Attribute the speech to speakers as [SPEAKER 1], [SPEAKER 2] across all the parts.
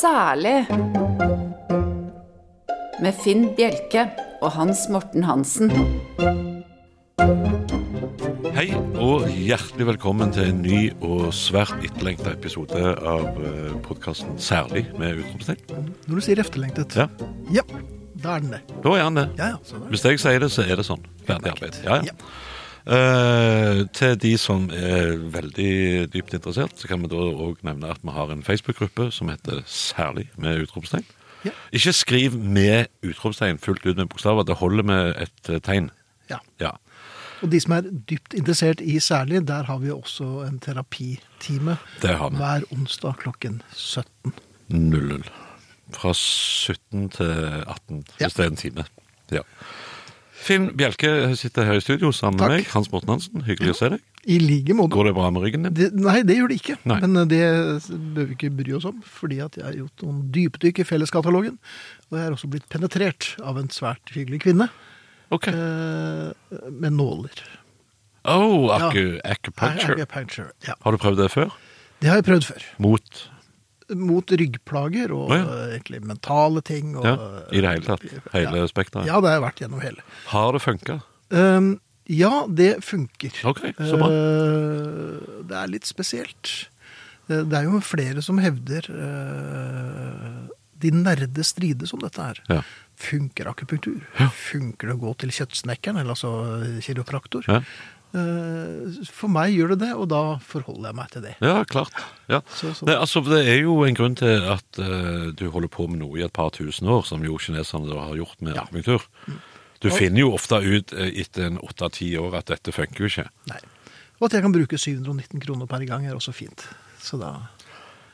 [SPEAKER 1] Særlig med Finn Bjelke og Hans Morten Hansen.
[SPEAKER 2] Hei og hjertelig velkommen til en ny og svært etterlengta episode av podkasten Særlig med utropstegn.
[SPEAKER 3] Når du sier efterlengtet.
[SPEAKER 2] Ja.
[SPEAKER 3] Ja, da er den det.
[SPEAKER 2] Da er han det.
[SPEAKER 3] Ja, ja. sånn er det.
[SPEAKER 2] Hvis jeg sier det, så er det sånn. Ferdig arbeid. Ja, ja.
[SPEAKER 3] Ja.
[SPEAKER 2] Eh, til de som er veldig dypt interessert, så kan vi da òg nevne at vi har en Facebook-gruppe som heter Særlig med utropstegn.
[SPEAKER 3] Ja.
[SPEAKER 2] Ikke skriv med utropstegn fullt ut med bokstaver. Det holder med et eh, tegn.
[SPEAKER 3] Ja.
[SPEAKER 2] Ja.
[SPEAKER 3] Og de som er dypt interessert i særlig, der har vi også en terapitime
[SPEAKER 2] Det har vi.
[SPEAKER 3] hver onsdag klokken 17.
[SPEAKER 2] 00. Fra 17 til 18,
[SPEAKER 3] Ja.
[SPEAKER 2] hvis det er en time. Ja. Finn Bjelke sitter her i studio sammen
[SPEAKER 3] Takk.
[SPEAKER 2] med meg. Hans Morten Hansen, hyggelig å se deg.
[SPEAKER 3] I like måte.
[SPEAKER 2] Går det bra med ryggen din?
[SPEAKER 3] Det, nei, det gjør det ikke.
[SPEAKER 2] Nei.
[SPEAKER 3] Men eh, det bør vi ikke bry oss om, fordi at jeg har gjort noen dypdykk i felleskatalogen. Og jeg er også blitt penetrert av en svært hyggelig kvinne
[SPEAKER 2] Ok.
[SPEAKER 3] eh, med nåler.
[SPEAKER 2] Oh,
[SPEAKER 3] Ja.
[SPEAKER 2] acu, acupuncture.
[SPEAKER 3] Acupuncture. Ja.
[SPEAKER 2] Har du prøvd det før?
[SPEAKER 3] Det har jeg prøvd før.
[SPEAKER 2] Mot
[SPEAKER 3] mot ryggplager og
[SPEAKER 2] Å, ja.
[SPEAKER 3] eh, egentlig mentale ting. Og,
[SPEAKER 2] Ja, i det hele tatt. Hele
[SPEAKER 3] eh, ja.
[SPEAKER 2] spekteret.
[SPEAKER 3] Ja, det har jeg vært gjennom hele.
[SPEAKER 2] Har det funka?
[SPEAKER 3] Um, ja, det funker.
[SPEAKER 2] Ok, så bra.
[SPEAKER 3] Eh, det er litt spesielt. Eh, Det er jo flere som hevder eh, De nerde strides om dette her.
[SPEAKER 2] Ja.
[SPEAKER 3] Funker akupunktur? Funker det å gå til kjøttsnekkeren, eller altså kiropraktor?
[SPEAKER 2] Ja.
[SPEAKER 3] Eh, for meg gjør det det, og da forholder jeg meg til det.
[SPEAKER 2] Ja, klart. Ja.
[SPEAKER 3] Så- sånn. så-
[SPEAKER 2] Nei, altså, det er jo en grunn til at eh, du holder på med noe i et par tusen år, som jo kineserne da har gjort med akupunktur.
[SPEAKER 3] Mm.
[SPEAKER 2] Du finner jo ofte ut eh, etter en åtte-ti år at dette funker jo ikke.
[SPEAKER 3] Nei. Og at jeg kan bruke 719 kroner per gang, er også fint. Så da...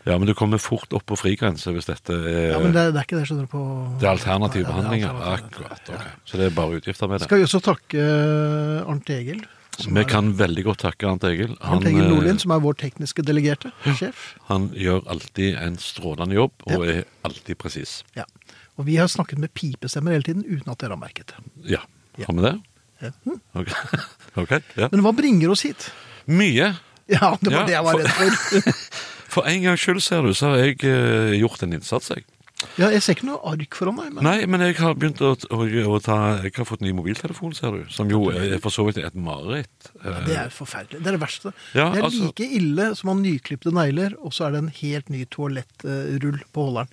[SPEAKER 2] Ja, men du kommer fort opp på frigrense hvis dette er,
[SPEAKER 3] Ja, men det, er- det er ikke det, skjønner du, på
[SPEAKER 2] det er alternative
[SPEAKER 3] Ja, det er
[SPEAKER 2] behandlinger.
[SPEAKER 3] alternative.
[SPEAKER 2] Akkurat. ok. Så det er bare utgifter med det.
[SPEAKER 3] Skal vi også takke eh, Arnt Egil. som
[SPEAKER 2] Vi
[SPEAKER 3] er-
[SPEAKER 2] kan veldig godt takke Arnt Egil. Han,
[SPEAKER 3] Arnt Egil
[SPEAKER 2] eh,
[SPEAKER 3] Nordlien, som er vår tekniske delegerte sjef.
[SPEAKER 2] han gjør alltid en strålende jobb, og er
[SPEAKER 3] Ja.
[SPEAKER 2] alltid presis.
[SPEAKER 3] Ja. Og vi har snakket med pipestemmer hele tiden uten at dere har merket det.
[SPEAKER 2] Ja.
[SPEAKER 3] Ja.
[SPEAKER 2] Har vi det?
[SPEAKER 3] Ja. Hm.
[SPEAKER 2] Ok. Ok, ja.
[SPEAKER 3] Men hva bringer oss hit?
[SPEAKER 2] Mye.
[SPEAKER 3] Ja, det
[SPEAKER 2] Ja,
[SPEAKER 3] var det jeg var
[SPEAKER 2] for-
[SPEAKER 3] redd for.
[SPEAKER 2] For en gangs skyld, ser du, så har jeg eh, gjort en innsats, jeg.
[SPEAKER 3] Ja, jeg ser ikke noe ark foran meg. Men...
[SPEAKER 2] Nei, men jeg har begynt å, å, å ta Jeg har fått ny mobiltelefon, ser du. Som jo er for så vidt er et mareritt.
[SPEAKER 3] Ja, Det er forferdelig. Det er det verste.
[SPEAKER 2] Ja,
[SPEAKER 3] det er
[SPEAKER 2] altså-
[SPEAKER 3] like ille som å ha nyklipte negler, og så er det en helt ny toalettrull på holderen.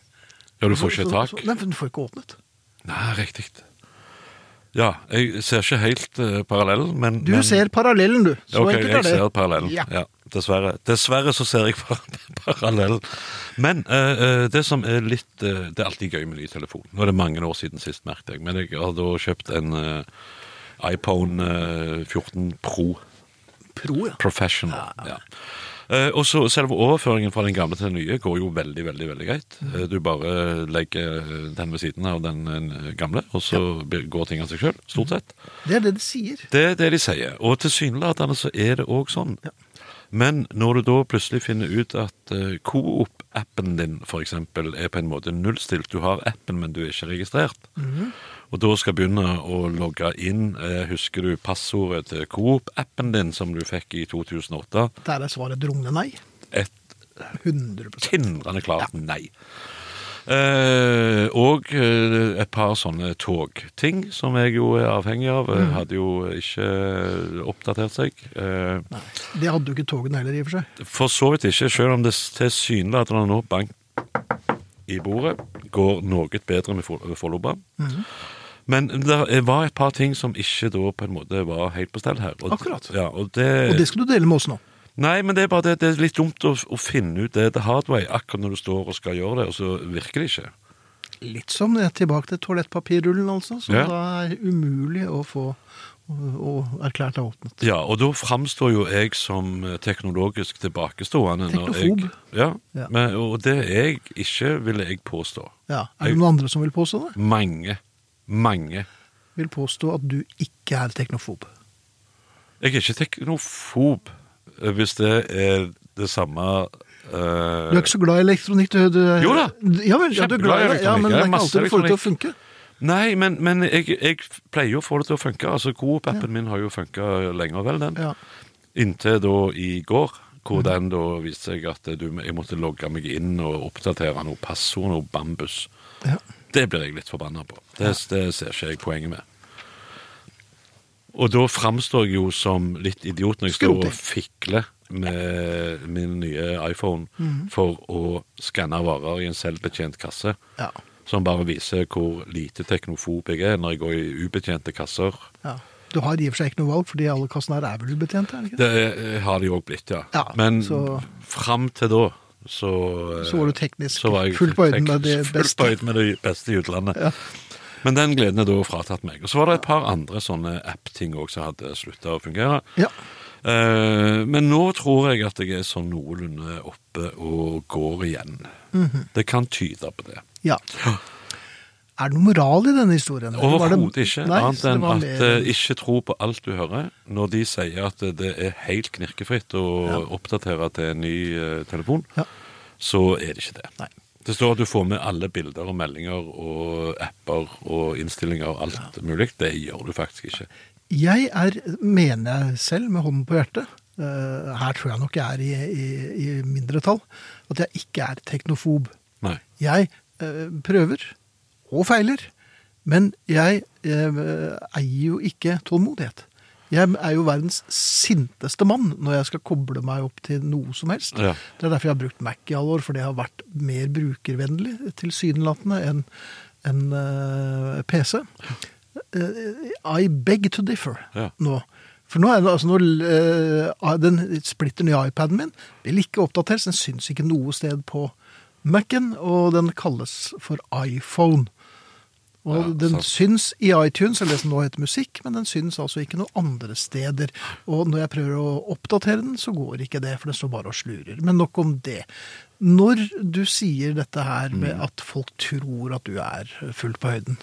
[SPEAKER 2] Ja, du får
[SPEAKER 3] Så-
[SPEAKER 2] ikke
[SPEAKER 3] så- så-
[SPEAKER 2] tak.
[SPEAKER 3] Nei, for du får ikke åpnet.
[SPEAKER 2] Nei, riktig. Ja, jeg ser ikke helt eh, parallellen, men
[SPEAKER 3] Du
[SPEAKER 2] men,
[SPEAKER 3] ser parallellen, du. Så
[SPEAKER 2] Ok,
[SPEAKER 3] enkelt er det.
[SPEAKER 2] jeg ser parallellen.
[SPEAKER 3] Ja.
[SPEAKER 2] Ja. dessverre. Dessverre så ser jeg par parallellen. Men eh, eh, det som er litt eh, Det er alltid gøy med ny telefon. Nå er det mange år siden sist, merket jeg. Men jeg har da kjøpt en eh, iPhone eh, 14 Pro.
[SPEAKER 3] Pro, ja.
[SPEAKER 2] Professional. Ja. Eh, og så Selve overføringen fra den gamle til den nye går jo veldig veldig, veldig greit.
[SPEAKER 3] Mm.
[SPEAKER 2] Eh, du bare legger eh, den ved siden av den eh, gamle, og så blir- går ting av seg sjøl. Stort sett.
[SPEAKER 3] Det er det de sier.
[SPEAKER 2] Det er det de sier. Og tilsynelatende så er det òg sånn.
[SPEAKER 3] Ja.
[SPEAKER 2] Men når du da plutselig finner ut at eh, Coop-appen din for eksempel, er på en måte nullstilt Du har appen, men du er ikke registrert. Og da skal begynne å logge inn eh, Husker du passordet til Coop-appen din som du fikk i 2008?
[SPEAKER 3] Der er svaret drungende nei.
[SPEAKER 2] Et
[SPEAKER 3] 100
[SPEAKER 2] tindrende klart nei. Eh, og eh, et par sånne togting som jeg jo er avhengig av. eh,
[SPEAKER 3] Mm.
[SPEAKER 2] Hadde jo ikke oppdatert seg. Eh,
[SPEAKER 3] Nei. Det hadde jo ikke togene heller, i og for seg.
[SPEAKER 2] for så vidt ikke, selv om det s- tilsynelatende nå bank i bordet går noe bedre med Fo- Follobanen.
[SPEAKER 3] Mm.
[SPEAKER 2] Men det var et par ting som ikke da på en måte var helt på stell her. Og,
[SPEAKER 3] Akkurat.
[SPEAKER 2] Ja, og
[SPEAKER 3] Og
[SPEAKER 2] det,
[SPEAKER 3] det skal du dele med oss nå.
[SPEAKER 2] Nei, men det er bare det, det er litt dumt å, å finne ut det the hard way akkurat når du står og skal gjøre det, og så virker det ikke.
[SPEAKER 3] Litt som det er tilbake til toalettpapirrullen, altså. Som
[SPEAKER 2] Ja.
[SPEAKER 3] da er umulig å få og erklært deg åpnet.
[SPEAKER 2] Ja, og da framstår jo jeg som eh, teknologisk tilbakestående. når
[SPEAKER 3] Teknofob.
[SPEAKER 2] Jeg, ja,
[SPEAKER 3] Ja.
[SPEAKER 2] Men, og det er jeg ikke, vil jeg påstå.
[SPEAKER 3] Ja. Er
[SPEAKER 2] Jeg-
[SPEAKER 3] det noen andre som vil påstå det?
[SPEAKER 2] Mange, mange.
[SPEAKER 3] Vil påstå at du ikke er teknofob.
[SPEAKER 2] Jeg er ikke teknofob, eh, hvis det er det samme eh,
[SPEAKER 3] Du er ikke så glad i elektronikk, du. du
[SPEAKER 2] Jo da.
[SPEAKER 3] Ja vel, ja, du er glad i det. Ja, men det er ikke
[SPEAKER 2] Masse
[SPEAKER 3] alltid du får det til å funke.
[SPEAKER 2] Nei, men, men jeg, jeg pleier å få det til å funke. Altså, Coop-appen min har jo funka lenger, vel, den.
[SPEAKER 3] Ja.
[SPEAKER 2] Inntil da i går,
[SPEAKER 3] Mm.
[SPEAKER 2] Hvor den da viste seg at du, jeg måtte logge meg inn og oppdatere noe passord, noe bambus.
[SPEAKER 3] Ja.
[SPEAKER 2] Det blir jeg litt forbanna på. Det, det ser ikke jeg poenget med. Og da framstår jeg jo som litt idiot når jeg står og fikler med min nye iPhone
[SPEAKER 3] Mhm.
[SPEAKER 2] for å skanne varer i en selvbetjent kasse,
[SPEAKER 3] Ja.
[SPEAKER 2] som bare viser hvor lite teknofob jeg er når jeg går i ubetjente kasser.
[SPEAKER 3] ja. Du har i og for seg ikke noe valg, fordi alle kassene her er vel ubetjente? er det ikke det?
[SPEAKER 2] Det eh, har det jo òg blitt, ja.
[SPEAKER 3] Ja,
[SPEAKER 2] Men
[SPEAKER 3] så-
[SPEAKER 2] fram til da så eh,
[SPEAKER 3] Så var du teknisk
[SPEAKER 2] så var jeg
[SPEAKER 3] fullt på øyden
[SPEAKER 2] teknisk
[SPEAKER 3] med det
[SPEAKER 2] fullt på
[SPEAKER 3] beste.
[SPEAKER 2] øyden med det beste i utlandet. Men den gleden er da fratatt meg. Og så var det et par andre sånne app-ting òg som hadde slutta å fungere.
[SPEAKER 3] Ja.
[SPEAKER 2] Eh, Men nå tror jeg at jeg er sånn noenlunde oppe og går igjen.
[SPEAKER 3] Mhm.
[SPEAKER 2] Det kan tyde på det.
[SPEAKER 3] ja. Er det noe moral i denne historien? eller var det-
[SPEAKER 2] Overhodet ikke.
[SPEAKER 3] Nei,
[SPEAKER 2] annet
[SPEAKER 3] så det
[SPEAKER 2] enn
[SPEAKER 3] var
[SPEAKER 2] at
[SPEAKER 3] mer-
[SPEAKER 2] eh, ikke tro på alt du hører når de sier at det er helt knirkefritt å oppdatere til en ny eh, telefon.
[SPEAKER 3] Ja.
[SPEAKER 2] Så er det ikke det.
[SPEAKER 3] Nei.
[SPEAKER 2] Det står at du får med alle bilder og meldinger og apper og innstillinger og alt mulig. Det gjør du faktisk ikke.
[SPEAKER 3] Jeg er, mener jeg selv, med hånden på hjertet eh, Her tror jeg nok jeg er i, i, i mindretall. At jeg ikke er teknofob.
[SPEAKER 2] Nei.
[SPEAKER 3] Jeg eh, prøver, og feiler, men jeg eh, eier jo ikke tålmodighet. Jeg er jo verdens sinteste mann når jeg skal koble meg opp til noe som helst.
[SPEAKER 2] Ja.
[SPEAKER 3] Det er derfor jeg har brukt Mac i alle år, for det har vært mer brukervennlig tilsynelatende enn enn, eh, PC. Eh, I beg to differ
[SPEAKER 2] Ja.
[SPEAKER 3] nå. For nå er det altså når, eh, den splitter nye iPaden min, vil ikke oppdateres, den syns ikke noe sted på Mac-en, og den kalles for iPhone. Og
[SPEAKER 2] Ja,
[SPEAKER 3] den
[SPEAKER 2] sant.
[SPEAKER 3] syns i iTunes, eller det som nå heter musikk, men den syns altså ikke noe andre steder. Og når jeg prøver å oppdatere den, så går ikke det, for den står bare og slurer. Men nok om det. Når du sier dette her med
[SPEAKER 2] Mm.
[SPEAKER 3] at folk tror at du er fullt på høyden,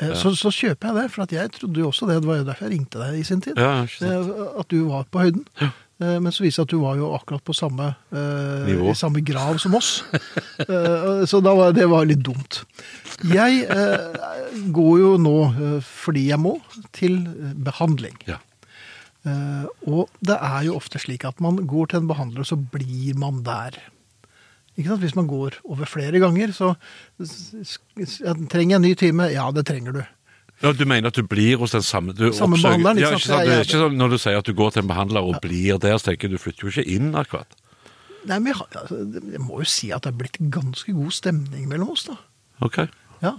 [SPEAKER 3] eh, så, så kjøper jeg det, for at jeg trodde jo også det. Det var jo derfor jeg ringte deg i sin tid.
[SPEAKER 2] Ja, ikke sant.
[SPEAKER 3] eh, At du var på høyden. Eh, Men så viser det seg at du var jo akkurat på samme, eh,
[SPEAKER 2] Nivå.
[SPEAKER 3] i samme grav som oss. Eh, så da var, det var litt dumt. Jeg eh, går jo nå, eh, fordi jeg må, til eh, behandling.
[SPEAKER 2] Ja.
[SPEAKER 3] Eh, og det er jo ofte slik at man går til en behandler, og så blir man der. Ikke sant? Hvis man går over flere ganger, så s- s- s- ja, trenger jeg en ny time. Ja, det trenger du.
[SPEAKER 2] Ja, du mener at du blir hos den samme du
[SPEAKER 3] Samme
[SPEAKER 2] oppsøker-
[SPEAKER 3] behandleren, ikke
[SPEAKER 2] Ja,
[SPEAKER 3] sant?
[SPEAKER 2] ikke sant?
[SPEAKER 3] Ja,
[SPEAKER 2] Det
[SPEAKER 3] ja,
[SPEAKER 2] er ikke sånn når du sier at du går til en behandler og blir der, så tenker jeg du flytter jo ikke inn akkurat.
[SPEAKER 3] Nei, men jeg, har- altså, jeg må jo si at det er blitt ganske god stemning mellom oss, da.
[SPEAKER 2] Ok.
[SPEAKER 3] Ja.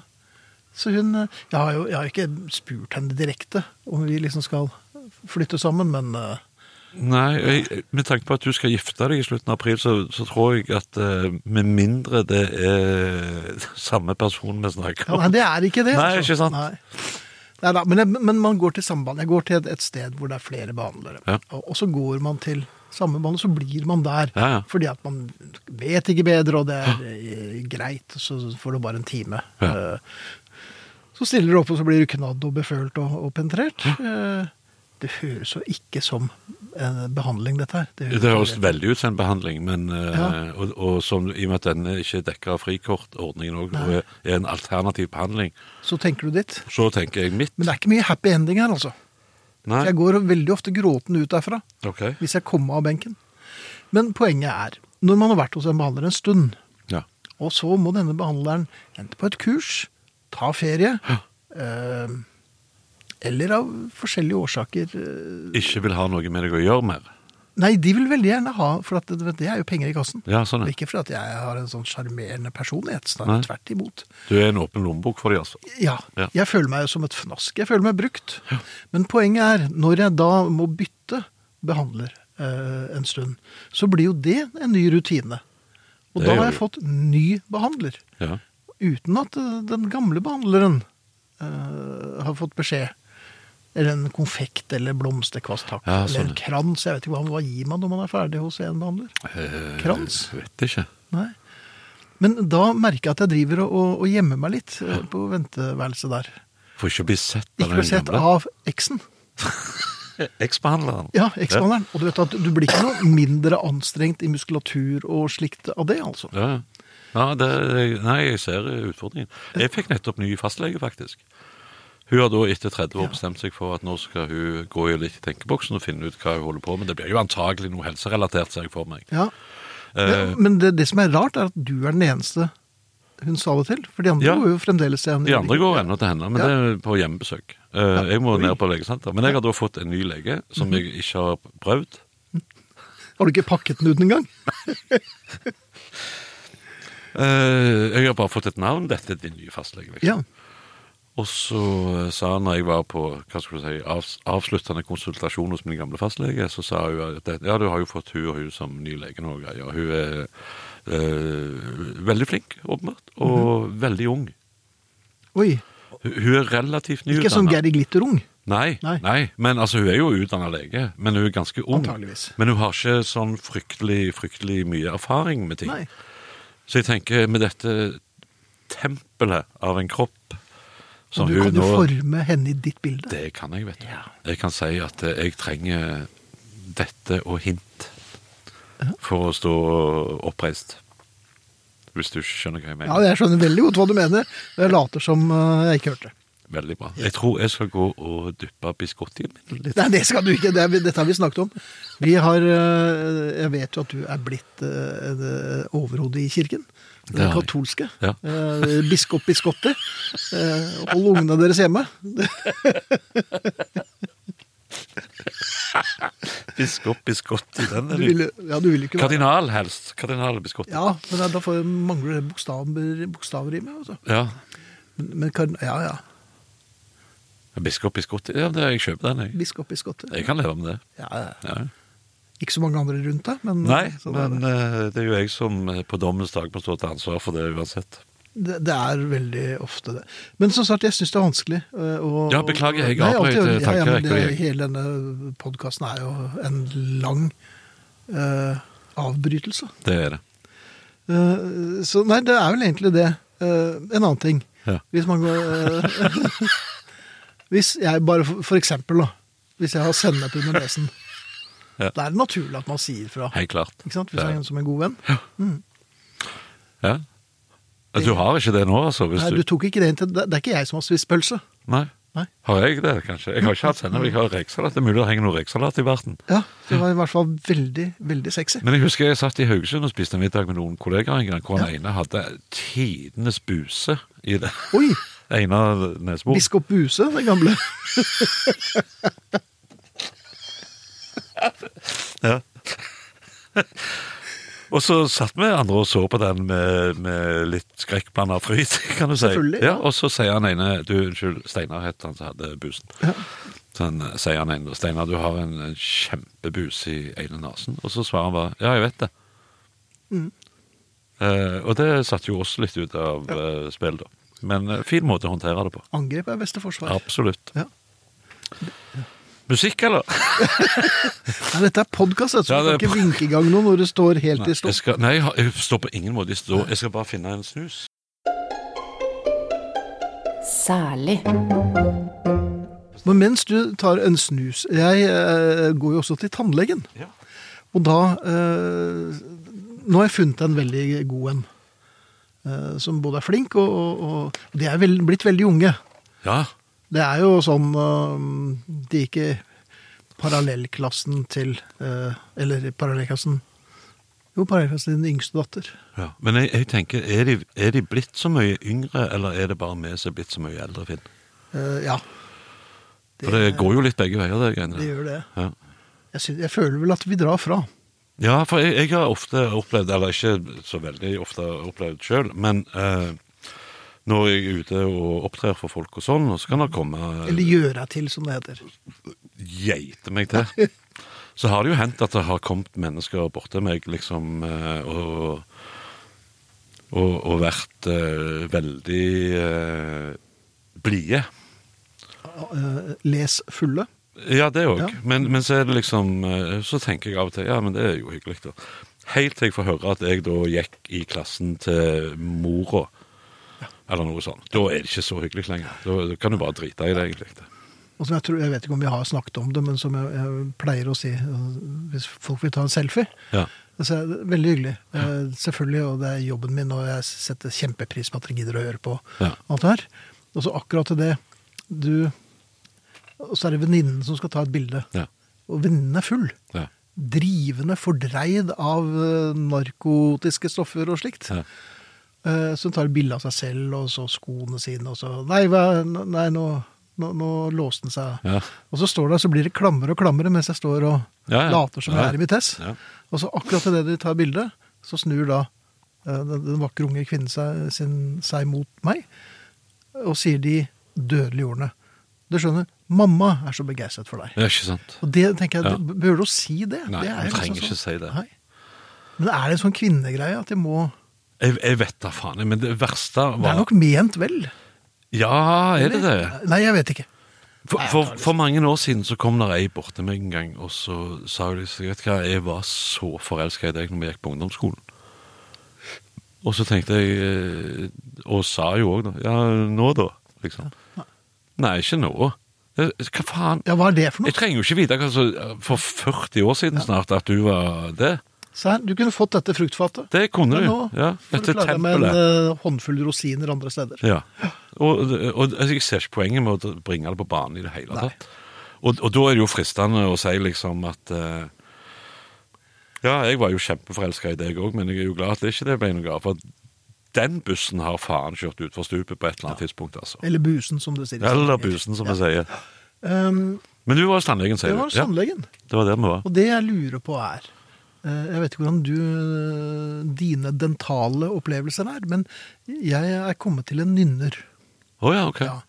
[SPEAKER 3] Så hun eh, Jeg har jo jeg har ikke spurt henne direkte om vi liksom skal flytte sammen, men eh,
[SPEAKER 2] Nei, jeg, med tanke på at du skal gifte deg i slutten av april, så, så tror jeg at eh, med mindre det er samme person vi snakker
[SPEAKER 3] ja,
[SPEAKER 2] om
[SPEAKER 3] Nei, det er ikke det. altså.
[SPEAKER 2] Nei, ikke sant.
[SPEAKER 3] Nei. Nei da, men, jeg, men man går til samband. Jeg går til et, et sted hvor det er flere behandlere.
[SPEAKER 2] Ja.
[SPEAKER 3] Og, og så går man til samme behandler, så blir man der.
[SPEAKER 2] Ja, ja.
[SPEAKER 3] Fordi at man vet ikke bedre, og det er eh, greit. Så får du bare en time.
[SPEAKER 2] Ja.
[SPEAKER 3] Eh, Så stiller du opp, og så blir du knadd og befølt og, og penetrert. Eh, Det høres jo ikke som eh, behandling, dette her.
[SPEAKER 2] Det høres veldig ut som en behandling, men, eh,
[SPEAKER 3] Ja.
[SPEAKER 2] og, og som, i og med at denne ikke dekker av frikortordningen og, og
[SPEAKER 3] Nei.
[SPEAKER 2] er- er en alternativ behandling,
[SPEAKER 3] Så tenker du ditt.
[SPEAKER 2] så tenker jeg mitt.
[SPEAKER 3] Men det er ikke mye happy ending her, altså.
[SPEAKER 2] Nei,
[SPEAKER 3] Jeg går veldig ofte gråtende ut derfra
[SPEAKER 2] ok.
[SPEAKER 3] hvis jeg kommer av benken. Men poenget er, når man har vært hos en behandler en stund,
[SPEAKER 2] Ja.
[SPEAKER 3] og så må denne behandleren enten på et kurs, ta ferie, eh, eller av forskjellige årsaker eh,
[SPEAKER 2] Ikke vil ha noe med deg å gjøre mer.
[SPEAKER 3] Nei, de vil veldig gjerne ha, for at, det det er jo penger i kassen.
[SPEAKER 2] Ja, sånn er.
[SPEAKER 3] Og
[SPEAKER 2] det.
[SPEAKER 3] Ikke fordi at jeg har en sånn sjarmerende personlighet,
[SPEAKER 2] Nei.
[SPEAKER 3] snarere tvert imot.
[SPEAKER 2] Du er en åpen lommebok for dem, altså.
[SPEAKER 3] Ja.
[SPEAKER 2] Ja.
[SPEAKER 3] Jeg føler meg jo som et fnask. Jeg føler meg brukt. Men poenget er, når jeg da må bytte behandler eh, en stund, så blir jo det en ny rutine. Og
[SPEAKER 2] Det
[SPEAKER 3] da
[SPEAKER 2] gjør
[SPEAKER 3] har jeg
[SPEAKER 2] det.
[SPEAKER 3] fått ny behandler.
[SPEAKER 2] Ja.
[SPEAKER 3] Uten at eh, den gamle behandleren eh, har fått beskjed. Eller en konfekt eller blomsterkvast, takk.
[SPEAKER 2] Ja,
[SPEAKER 3] Eller
[SPEAKER 2] sånn.
[SPEAKER 3] en krans. Jeg vet ikke hva, hva gir man når man er ferdig hos en behandler.
[SPEAKER 2] Eh,
[SPEAKER 3] Krans?
[SPEAKER 2] Vet ikke.
[SPEAKER 3] Nei. Men da merker jeg at jeg driver og, og, og gjemmer meg litt eh, på venteværelset der.
[SPEAKER 2] Får ikke bli sett av
[SPEAKER 3] Ikke ble
[SPEAKER 2] den
[SPEAKER 3] sett
[SPEAKER 2] gamle.
[SPEAKER 3] av eksen.
[SPEAKER 2] Eksbehandleren.
[SPEAKER 3] Ja, eksbehandleren. Og du vet at du blir ikke noe mindre anstrengt i muskulatur og slikt av det, altså.
[SPEAKER 2] Ja, ja. ja det, nei, jeg ser utfordringen. Jeg fikk nettopp ny fastlege, faktisk. Hun har da etter 30 år
[SPEAKER 3] Ja.
[SPEAKER 2] bestemt seg for at nå skal hun gå litt i tenkeboksen og finne ut hva hun holder på med. Det blir jo antakelig noe helserelatert, ser jeg for meg.
[SPEAKER 3] Ja.
[SPEAKER 2] Eh,
[SPEAKER 3] Men- Men det, det som er rart, er at du er den eneste hun sa det til. For de andre
[SPEAKER 2] Ja.
[SPEAKER 3] går jo fremdeles til henne.
[SPEAKER 2] De andre går ennå til henne, men
[SPEAKER 3] Ja.
[SPEAKER 2] det er på hjemmebesøk. Eh, jeg må ned på legesenter. Men jeg har da fått en ny lege
[SPEAKER 3] Mhm.
[SPEAKER 2] som jeg ikke har prøvd.
[SPEAKER 3] Har du ikke pakket den ut engang?
[SPEAKER 2] Eh, jeg har bare fått et navn. Dette er din nye fastlege. Liksom.
[SPEAKER 3] Ja.
[SPEAKER 2] Og så eh, sa han når jeg var på hva skal du si, avs avsluttende konsultasjon hos min gamle fastlege, så sa hun at det- ja, du har jo fått hun og hun som ny lege nå. og greier. Og Hun er eh, veldig flink, åpenbart, og
[SPEAKER 3] Mhm.
[SPEAKER 2] veldig ung.
[SPEAKER 3] Oi.
[SPEAKER 2] Hun- Hun er relativt
[SPEAKER 3] Ikke sånn
[SPEAKER 2] nyutdanna.
[SPEAKER 3] Geri Glitterung.
[SPEAKER 2] Nei,
[SPEAKER 3] Nei.
[SPEAKER 2] nei. men altså, hun er jo utdanna lege, men hun er ganske ung.
[SPEAKER 3] Antageligvis.
[SPEAKER 2] Men hun har ikke sånn fryktelig, fryktelig mye erfaring med ting.
[SPEAKER 3] Nei.
[SPEAKER 2] Så jeg tenker med dette tempelet av en kropp som
[SPEAKER 3] Og du
[SPEAKER 2] hun
[SPEAKER 3] kan jo
[SPEAKER 2] nå
[SPEAKER 3] forme henne i ditt bilde.
[SPEAKER 2] Det kan jeg, vet du. Jeg kan si at eh, jeg trenger dette og hint for å stå oppreist. Hvis du skjønner hva jeg
[SPEAKER 3] Ja,
[SPEAKER 2] mener.
[SPEAKER 3] jeg skjønner veldig godt hva du mener. og Jeg later som eh, jeg ikke hørte.
[SPEAKER 2] Veldig bra. Jeg tror jeg skal gå og dyppe biscottien min litt.
[SPEAKER 3] Nei, det skal du ikke. Det er, vi- dette har vi snakket om. Vi har eh, Jeg vet jo at du er blitt eh, eh, overhodet i kirken.
[SPEAKER 2] Det
[SPEAKER 3] Den
[SPEAKER 2] har jeg.
[SPEAKER 3] katolske.
[SPEAKER 2] Ja.
[SPEAKER 3] Eh, biskop Biscotti. Eh, hold ungene deres hjemme.
[SPEAKER 2] Biskop biscotti, den
[SPEAKER 3] Du
[SPEAKER 2] er ny.
[SPEAKER 3] vil, ja, du vil jo ikke være
[SPEAKER 2] Kardinal helst. Kardinal biscotti.
[SPEAKER 3] Ja, men da- da får- mangler det bokstaver, bokstaver i meg. Altså.
[SPEAKER 2] Ja.
[SPEAKER 3] Men, men kan, ja, ja.
[SPEAKER 2] Biskop biscotti. Ja, det, jeg kjøper den, jeg.
[SPEAKER 3] Biskop Biscotti.
[SPEAKER 2] Jeg kan leve med det.
[SPEAKER 3] Ja, ja.
[SPEAKER 2] Ja.
[SPEAKER 3] Ikke så mange andre rundt deg, men
[SPEAKER 2] Nei,
[SPEAKER 3] sånn er
[SPEAKER 2] men eh, det er jo jeg som eh, på dommens dag må stå til ansvar for det uansett.
[SPEAKER 3] Det, det er veldig ofte det. Men som sagt, jeg syns det er vanskelig. øh, å-
[SPEAKER 2] Ja, beklager, jeg
[SPEAKER 3] Nei,
[SPEAKER 2] avbrøt,
[SPEAKER 3] alltid-
[SPEAKER 2] eh,
[SPEAKER 3] ja, ja, men
[SPEAKER 2] tankerekken
[SPEAKER 3] det-
[SPEAKER 2] din.
[SPEAKER 3] Hele denne podkasten er jo en lang øh, avbrytelse.
[SPEAKER 2] Det er det.
[SPEAKER 3] Eh, så nei, det er vel egentlig det. Eh, en annen ting.
[SPEAKER 2] Ja.
[SPEAKER 3] Hvis man går eh, Hvis jeg bare for, for eksempel, da. Hvis jeg har sennep under nesen.
[SPEAKER 2] Ja.
[SPEAKER 3] Da er det naturlig at man sier fra.
[SPEAKER 2] Helt klart.
[SPEAKER 3] Ikke sant? Hvis
[SPEAKER 2] Det er
[SPEAKER 3] jeg er som en god venn.
[SPEAKER 2] Ja. Ja, Du har ikke det nå, altså? Hvis
[SPEAKER 3] Nei, du
[SPEAKER 2] du...
[SPEAKER 3] tok ikke det inn til Det det er ikke jeg som har spist pølse.
[SPEAKER 2] Nei.
[SPEAKER 3] Nei.
[SPEAKER 2] Har jeg det, kanskje? Jeg har ikke hatt sennep, jeg har rekesalat. Det er mulig det henger noe rekesalat i verden.
[SPEAKER 3] Ja, det var i hvert fall veldig, veldig sexy.
[SPEAKER 2] Men jeg husker jeg satt i Haugesund og spiste middag med noen kollegaer en gang, hvor han ene hadde tidenes buse i det
[SPEAKER 3] Oi!
[SPEAKER 2] ene nesbor.
[SPEAKER 3] Biskop Buse, den gamle.
[SPEAKER 2] Ja. Og så satt vi andre og så på den med, med litt skrekkblanda fryd, kan du si.
[SPEAKER 3] Selvfølgelig, ja.
[SPEAKER 2] Ja, og så sier han ene Du, unnskyld, Steinar het han som hadde busen. Så han, eh, sier han ene Steinar, du har en, en kjempebus i ene nesen. Og så svarer han bare Ja, jeg vet det.
[SPEAKER 3] Mm.
[SPEAKER 2] Eh, og det satte jo oss litt ut av eh, spill, da. Men eh, fin måte å håndtere det på.
[SPEAKER 3] Angrep er beste forsvar.
[SPEAKER 2] Absolutt.
[SPEAKER 3] Ja.
[SPEAKER 2] Musikk, eller?
[SPEAKER 3] Nei, dette er podkast, så du
[SPEAKER 2] Ja,
[SPEAKER 3] kan
[SPEAKER 2] det er
[SPEAKER 3] ikke vinke i gang noe når du står helt i
[SPEAKER 2] jeg
[SPEAKER 3] stopp.
[SPEAKER 2] skal, nei, jeg har- jeg står på ingen måte i stå. Jeg skal bare finne en snus.
[SPEAKER 1] Særlig.
[SPEAKER 3] Men mens du tar en snus Jeg eh, går jo også til tannlegen.
[SPEAKER 2] Ja.
[SPEAKER 3] Og da eh, Nå har jeg funnet en veldig god en. Eh, som både er flink og, og, og De er vel, blitt veldig unge.
[SPEAKER 2] Ja,
[SPEAKER 3] Det er jo sånn øhm, De gikk i parallellklassen til øh, Eller i parallellklassen Jo, parallellklassen til den yngste datter.
[SPEAKER 2] ja. Men jeg, jeg tenker, er de, er de blitt så mye yngre, eller er det bare vi som er blitt så mye eldre, Finn?
[SPEAKER 3] Eh, ja.
[SPEAKER 2] For det, går jo litt begge veier, det greiene.
[SPEAKER 3] Det gjør det.
[SPEAKER 2] Ja.
[SPEAKER 3] Jeg, sy- jeg føler vel at vi drar fra.
[SPEAKER 2] ja, for jeg, jeg har ofte opplevd, eller ikke så veldig ofte opplevd sjøl, men eh, når jeg er ute og opptrer for folk og sånn, og så kan det komme
[SPEAKER 3] Eller gjøre til, som det heter.
[SPEAKER 2] geite meg til. Så har det jo hendt at det har kommet mennesker bort til meg liksom, eh, og, og, og vært eh, veldig eh, blide.
[SPEAKER 3] Eh, les fulle.
[SPEAKER 2] Ja, det òg.
[SPEAKER 3] Ja.
[SPEAKER 2] Men, men så er det liksom eh, Så tenker jeg av og til ja, men det er jo hyggelig, da. Helt til jeg får høre at jeg da gikk i klassen til mora, eller noe sånt. Da er det ikke så hyggelig lenger. Da, da kan du bare drite i det, egentlig.
[SPEAKER 3] Og som jeg, tror, jeg vet ikke om vi har snakket om det, men som jeg, jeg pleier å si øh, hvis folk vil ta en selfie.
[SPEAKER 2] Ja.
[SPEAKER 3] Så er det veldig hyggelig. Eh, selvfølgelig, og det er jobben min, og jeg setter kjempepris på at dere gidder å høre på
[SPEAKER 2] Ja.
[SPEAKER 3] alt det her. Og så akkurat til det du Og så er det venninnen som skal ta et bilde.
[SPEAKER 2] Ja.
[SPEAKER 3] Og venninnen er full.
[SPEAKER 2] ja.
[SPEAKER 3] Drivende fordreid av eh, narkotiske stoffer og slikt.
[SPEAKER 2] ja.
[SPEAKER 3] Eh, Så hun tar et bilde av seg selv og så skoene sine, og så Nei, hva, nei nå, nå, nå låste den seg.
[SPEAKER 2] Ja.
[SPEAKER 3] Og så står det, så blir det klammer og klammer mens jeg står og
[SPEAKER 2] Ja, ja.
[SPEAKER 3] later som
[SPEAKER 2] Ja,
[SPEAKER 3] jeg er i vitess.
[SPEAKER 2] ja.
[SPEAKER 3] Og så akkurat idet de tar bildet, så snur da eh, den, den vakre unge kvinnen seg, sin, seg mot meg, og sier de dødelige ordene. Du skjønner, mamma er så begeistret for deg.
[SPEAKER 2] ja ikke sant?
[SPEAKER 3] Og det tenker jeg,
[SPEAKER 2] Ja.
[SPEAKER 3] du Bør du å si det?
[SPEAKER 2] Nei,
[SPEAKER 3] det er
[SPEAKER 2] hun
[SPEAKER 3] jo
[SPEAKER 2] trenger
[SPEAKER 3] liksom
[SPEAKER 2] ikke si det.
[SPEAKER 3] Nei. Men er det en sånn kvinnegreie at de må
[SPEAKER 2] Jeg, jeg vet da faen, men det verste var
[SPEAKER 3] Det er nok ment vel?
[SPEAKER 2] Ja, er det det?
[SPEAKER 3] Nei, jeg vet ikke.
[SPEAKER 2] For, for, for mange år siden så kom der ei bort til meg en gang, og så sa hun liksom Vet du hva, jeg var så forelska i deg når vi gikk på ungdomsskolen. Og så tenkte jeg eh, Og sa jo òg, da. Ja, nå da? Liksom. Nei, ikke nå. Eh, Hva faen?
[SPEAKER 3] Ja, hva er det for
[SPEAKER 2] Jeg
[SPEAKER 3] noe?
[SPEAKER 2] trenger jo ikke vite hva som- For 40 år siden snart at du var det.
[SPEAKER 3] Se her, du kunne fått dette fruktfatet.
[SPEAKER 2] Det kunne
[SPEAKER 3] Men
[SPEAKER 2] du.
[SPEAKER 3] nå
[SPEAKER 2] Ja,
[SPEAKER 3] får du
[SPEAKER 2] dette
[SPEAKER 3] klare deg med en
[SPEAKER 2] tempelet.
[SPEAKER 3] eh, håndfull rosiner andre steder.
[SPEAKER 2] Ja. Og, og jeg ser ikke poenget med å bringe det på banen i det hele
[SPEAKER 3] Nei.
[SPEAKER 2] tatt. Og, og da er det jo fristende å si liksom at eh, Ja, jeg var jo kjempeforelska i deg òg, men jeg er jo glad at det ikke det ble noe av. For den bussen har faen kjørt utfor stupet på et eller annet tidspunkt, altså.
[SPEAKER 3] Eller busen, som det sier.
[SPEAKER 2] Eller bussen, som vi sier.
[SPEAKER 3] Um,
[SPEAKER 2] Men du var hos tannlegen,
[SPEAKER 3] det
[SPEAKER 2] sier
[SPEAKER 3] var
[SPEAKER 2] du. Ja,
[SPEAKER 3] sannlegen.
[SPEAKER 2] det var der vi var.
[SPEAKER 3] Og det jeg lurer på er eh, Jeg vet ikke hvordan du, eh, dine dentale opplevelser er, men jeg er kommet til en nynner.
[SPEAKER 2] Å ja, ok.
[SPEAKER 3] Ja.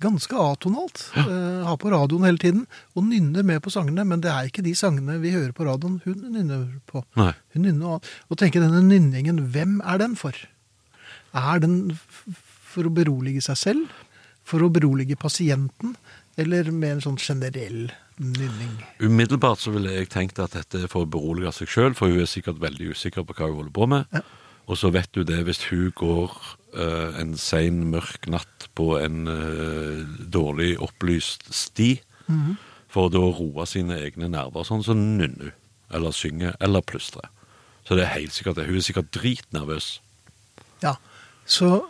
[SPEAKER 3] Ganske atonalt. eh, har på radioen hele tiden. Og nynner med på sangene, men det er ikke de sangene vi hører på radioen hun nynner på.
[SPEAKER 2] Nei.
[SPEAKER 3] Hun nynner og, og tenker denne nynningen, hvem er den for? Er den f- for å berolige seg selv? For å berolige pasienten? Eller med en sånn generell nynning?
[SPEAKER 2] Umiddelbart så ville jeg tenkt at dette er for å berolige seg sjøl, for hun er sikkert veldig usikker på hva hun holder på med.
[SPEAKER 3] Ja.
[SPEAKER 2] Og så vet du det hvis hun går eh, en sein, mørk natt på en eh, dårlig opplyst sti,
[SPEAKER 3] Mhm.
[SPEAKER 2] for da å roe sine egne nerver, sånn, så nynner hun. Eller synger, eller plystrer. Så det er helt sikkert det. Hun er sikkert dritnervøs.
[SPEAKER 3] Ja. Så,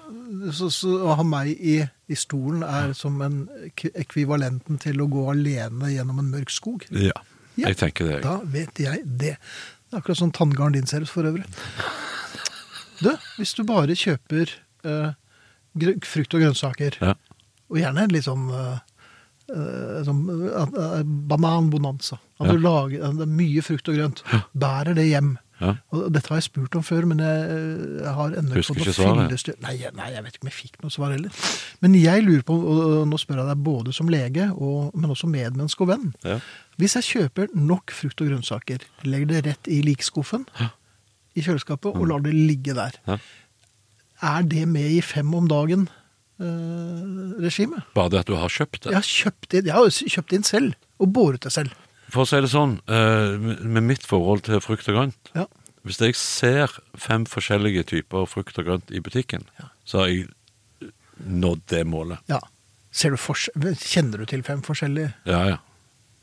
[SPEAKER 3] så, så å ha meg i, i stolen er som en ek- ekvivalenten til å gå alene gjennom en mørk skog.
[SPEAKER 2] Ja.
[SPEAKER 3] Ja.
[SPEAKER 2] Jeg tenker det.
[SPEAKER 3] Da vet jeg det. Det er akkurat sånn tanngarn din ser ut for øvrig. Du, hvis du bare kjøper eh, grø- frukt og grønnsaker,
[SPEAKER 2] Ja.
[SPEAKER 3] og gjerne litt sånn eh, eh, sånn, eh, bananbonanza. At
[SPEAKER 2] Ja.
[SPEAKER 3] du lager eh, det er mye frukt og grønt. Bærer det hjem.
[SPEAKER 2] Ja.
[SPEAKER 3] Og dette har jeg spurt om før, men jeg, eh, jeg har ennå
[SPEAKER 2] Husker
[SPEAKER 3] ikke fått
[SPEAKER 2] ikke svaret.
[SPEAKER 3] fyllestyr. Nei, jeg- nei, jeg vet ikke om jeg fikk noe svar heller. Men jeg lurer på, og nå spør jeg deg både som lege, og, men også medmenneske og venn.
[SPEAKER 2] Ja.
[SPEAKER 3] Hvis jeg kjøper nok frukt og grønnsaker, legger det rett i likskuffen i kjøleskapet og lar det ligge der,
[SPEAKER 2] Ja.
[SPEAKER 3] er det med i fem om dagen-regimet?
[SPEAKER 2] Bare det at du har kjøpt det.
[SPEAKER 3] jeg har kjøpt inn, jeg har jo kjøpt inn selv, og båret det selv.
[SPEAKER 2] For å si det sånn, eh, med- med mitt forhold til frukt og grønt,
[SPEAKER 3] Ja.
[SPEAKER 2] Hvis jeg ser fem forskjellige typer frukt og grønt i butikken, så har jeg nådd det målet.
[SPEAKER 3] ja. Ser du fors- Kjenner du til fem forskjellige?
[SPEAKER 2] Ja, ja.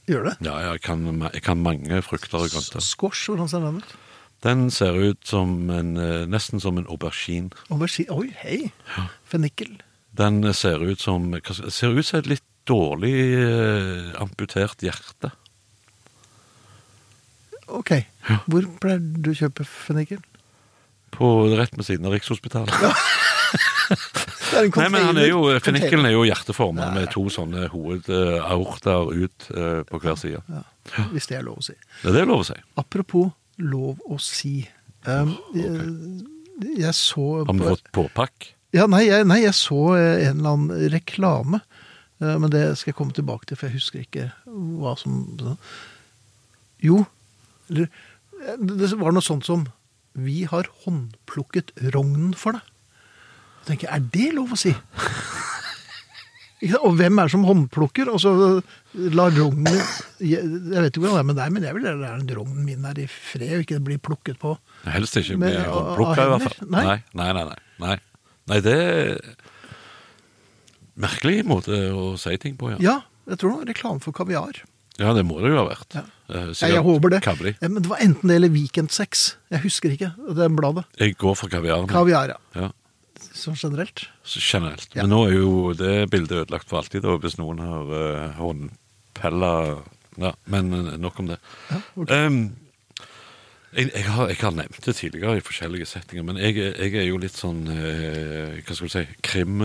[SPEAKER 3] Gjør det?
[SPEAKER 2] ja jeg, kan, ma- jeg kan mange frukter og grønter.
[SPEAKER 3] Squash, hvordan ser den ut?
[SPEAKER 2] Den ser ut som en, eh, nesten som en aubergine.
[SPEAKER 3] Aubergine. Oi, hei! Fennikel.
[SPEAKER 2] Den ser ut som hva skal- ser ut som et litt dårlig eh, amputert hjerte.
[SPEAKER 3] Ok. Hvor pleier du å kjøpe fennikel?
[SPEAKER 2] På, rett ved siden av Rikshospitalet.
[SPEAKER 3] Det er en
[SPEAKER 2] Nei, men han er jo,
[SPEAKER 3] container.
[SPEAKER 2] Fennikelen er jo hjerteforma med to sånne hovedaorter ut eh, på hver side.
[SPEAKER 3] Ja, hvis det er lov å si.
[SPEAKER 2] Ja, det er lov å si.
[SPEAKER 3] Apropos lov å si. Um, jeg, jeg så
[SPEAKER 2] Har vi
[SPEAKER 3] på-
[SPEAKER 2] fått påpakk?
[SPEAKER 3] ja, nei, jeg, nei, jeg så eh, en eller annen reklame. eh, Men det skal jeg komme tilbake til, for jeg husker ikke hva som Jo, eller eh, Det var noe sånt som Vi har håndplukket rognen for deg. Jeg tenker, er det lov å si? Ikke sant? Og hvem er det som håndplukker? Og så eh, lar rognen Jeg jeg vet ikke hvordan det er med deg, men jeg vil gjerne at rognen min er i fred og ikke blir plukket på.
[SPEAKER 2] Helst ikke
[SPEAKER 3] Men-
[SPEAKER 2] bli håndplukka, i
[SPEAKER 3] av
[SPEAKER 2] hvert fall.
[SPEAKER 3] hender? Nei.
[SPEAKER 2] Nei, nei, nei. nei, nei. nei det er Merkelig måte å si ting på, ja.
[SPEAKER 3] Ja, jeg tror det var reklame for kaviar.
[SPEAKER 2] Ja, det må det jo ha vært.
[SPEAKER 3] Ja.
[SPEAKER 2] Eh,
[SPEAKER 3] Ja,
[SPEAKER 2] sikkert
[SPEAKER 3] jeg håper det.
[SPEAKER 2] Kavli.
[SPEAKER 3] Ja, men det var enten det eller Weekend Sex. Jeg husker ikke det bladet.
[SPEAKER 2] Jeg går for kaviaren.
[SPEAKER 3] Kaviar, ja.
[SPEAKER 2] Ja.
[SPEAKER 3] sånn generelt.
[SPEAKER 2] Så generelt.
[SPEAKER 3] Ja.
[SPEAKER 2] Men nå er jo det bildet ødelagt for alltid, da, hvis noen har eh, håndpella ja, Men eh, nok om det.
[SPEAKER 3] Ja, ok.
[SPEAKER 2] Em, jeg, jeg, har, jeg har nevnt det tidligere i forskjellige settinger, men jeg, er- jeg er jo litt sånn eh, Hva skal du si krim,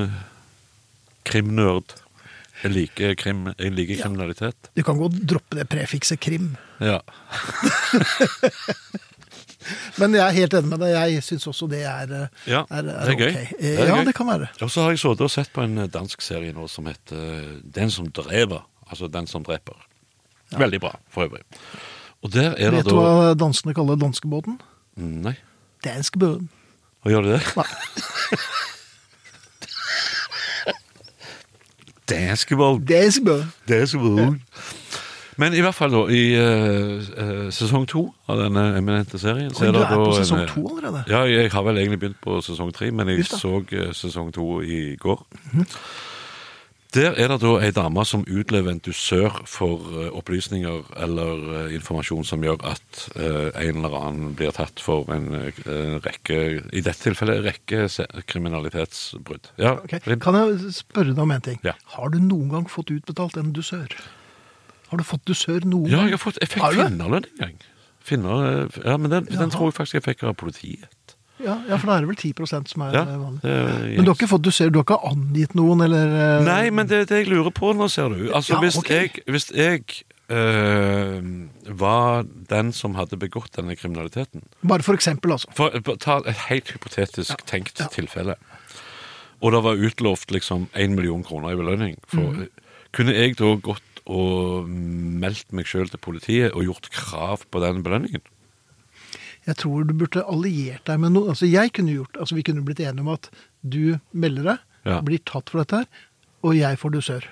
[SPEAKER 2] Krimnerd. Jeg liker krim, jeg liker
[SPEAKER 3] Ja.
[SPEAKER 2] kriminalitet.
[SPEAKER 3] Du kan godt droppe det prefikset krim.
[SPEAKER 2] Ja.
[SPEAKER 3] Men jeg er helt enig med deg. Jeg syns også det er, eh,
[SPEAKER 2] Ja,
[SPEAKER 3] er, er,
[SPEAKER 2] det er gøy.
[SPEAKER 3] ok. Eh,
[SPEAKER 2] Det er
[SPEAKER 3] ja,
[SPEAKER 2] gøy.
[SPEAKER 3] det kan være.
[SPEAKER 2] Og så har jeg sittet og sett på en eh, dansk serie nå som heter eh, Den som drever. Altså Den som dreper. Veldig bra, for øvrig. Og der er det
[SPEAKER 3] Vet du
[SPEAKER 2] da
[SPEAKER 3] hva danskene kaller danskebåten?
[SPEAKER 2] Nei.
[SPEAKER 3] Danskebåten.
[SPEAKER 2] Hva gjør du det?
[SPEAKER 3] Nei.
[SPEAKER 2] Danskeball.
[SPEAKER 3] Danskebåten.
[SPEAKER 2] Danskeball. Men i hvert fall da, i eh, eh, sesong to av denne eminente serien
[SPEAKER 3] Oi,
[SPEAKER 2] så er
[SPEAKER 3] du
[SPEAKER 2] det
[SPEAKER 3] er på
[SPEAKER 2] da en,
[SPEAKER 3] sesong
[SPEAKER 2] eh,
[SPEAKER 3] to allerede?
[SPEAKER 2] Ja, jeg har vel egentlig begynt på sesong tre, men jeg
[SPEAKER 3] Uff da. Mhm.
[SPEAKER 2] så eh, sesong to i går. Der er det da ei dame som utlever en dusør for eh, opplysninger eller eh, informasjon som gjør at eh, en eller annen blir tatt for en eh, rekke I dette tilfellet en rekke se- kriminalitetsbrudd. Ja,
[SPEAKER 3] Ok.
[SPEAKER 2] Linn?
[SPEAKER 3] Kan jeg spørre deg om en ting?
[SPEAKER 2] Ja.
[SPEAKER 3] Har du noen gang fått utbetalt en dusør? Har du fått dusør noen
[SPEAKER 2] ja
[SPEAKER 3] gang?
[SPEAKER 2] jeg, har fått, jeg fikk
[SPEAKER 3] Har du det?
[SPEAKER 2] finnerlønn en gang. Finner, eh, ja, men den,
[SPEAKER 3] Jaha.
[SPEAKER 2] den tror jeg faktisk jeg fikk av politiet.
[SPEAKER 3] Ja, ja, for da er det vel 10 som er
[SPEAKER 2] Ja,
[SPEAKER 3] eh, vanlig.
[SPEAKER 2] det er-
[SPEAKER 3] Men du har ikke fått dusør? Du har ikke angitt noen, eller eh,
[SPEAKER 2] Nei, men det er det jeg lurer på nå, ser du. Altså,
[SPEAKER 3] Ja,
[SPEAKER 2] hvis
[SPEAKER 3] ok.
[SPEAKER 2] jeg, hvis jeg eh, var den som hadde begått denne kriminaliteten
[SPEAKER 3] Bare for eksempel, altså.
[SPEAKER 2] For for å ta et helt hypotetisk tenkt
[SPEAKER 3] ja.
[SPEAKER 2] tilfelle. Og det var utlovt liksom én million kroner i belønning. For,
[SPEAKER 3] Mm.
[SPEAKER 2] eh, Kunne jeg da gått og meldt meg sjøl til politiet og gjort krav på den belønningen?
[SPEAKER 3] Jeg tror du burde alliert deg med noen. Altså, jeg kunne gjort, altså, vi kunne blitt enige om at du melder deg,
[SPEAKER 2] Ja.
[SPEAKER 3] blir tatt for dette her, og jeg får dusør.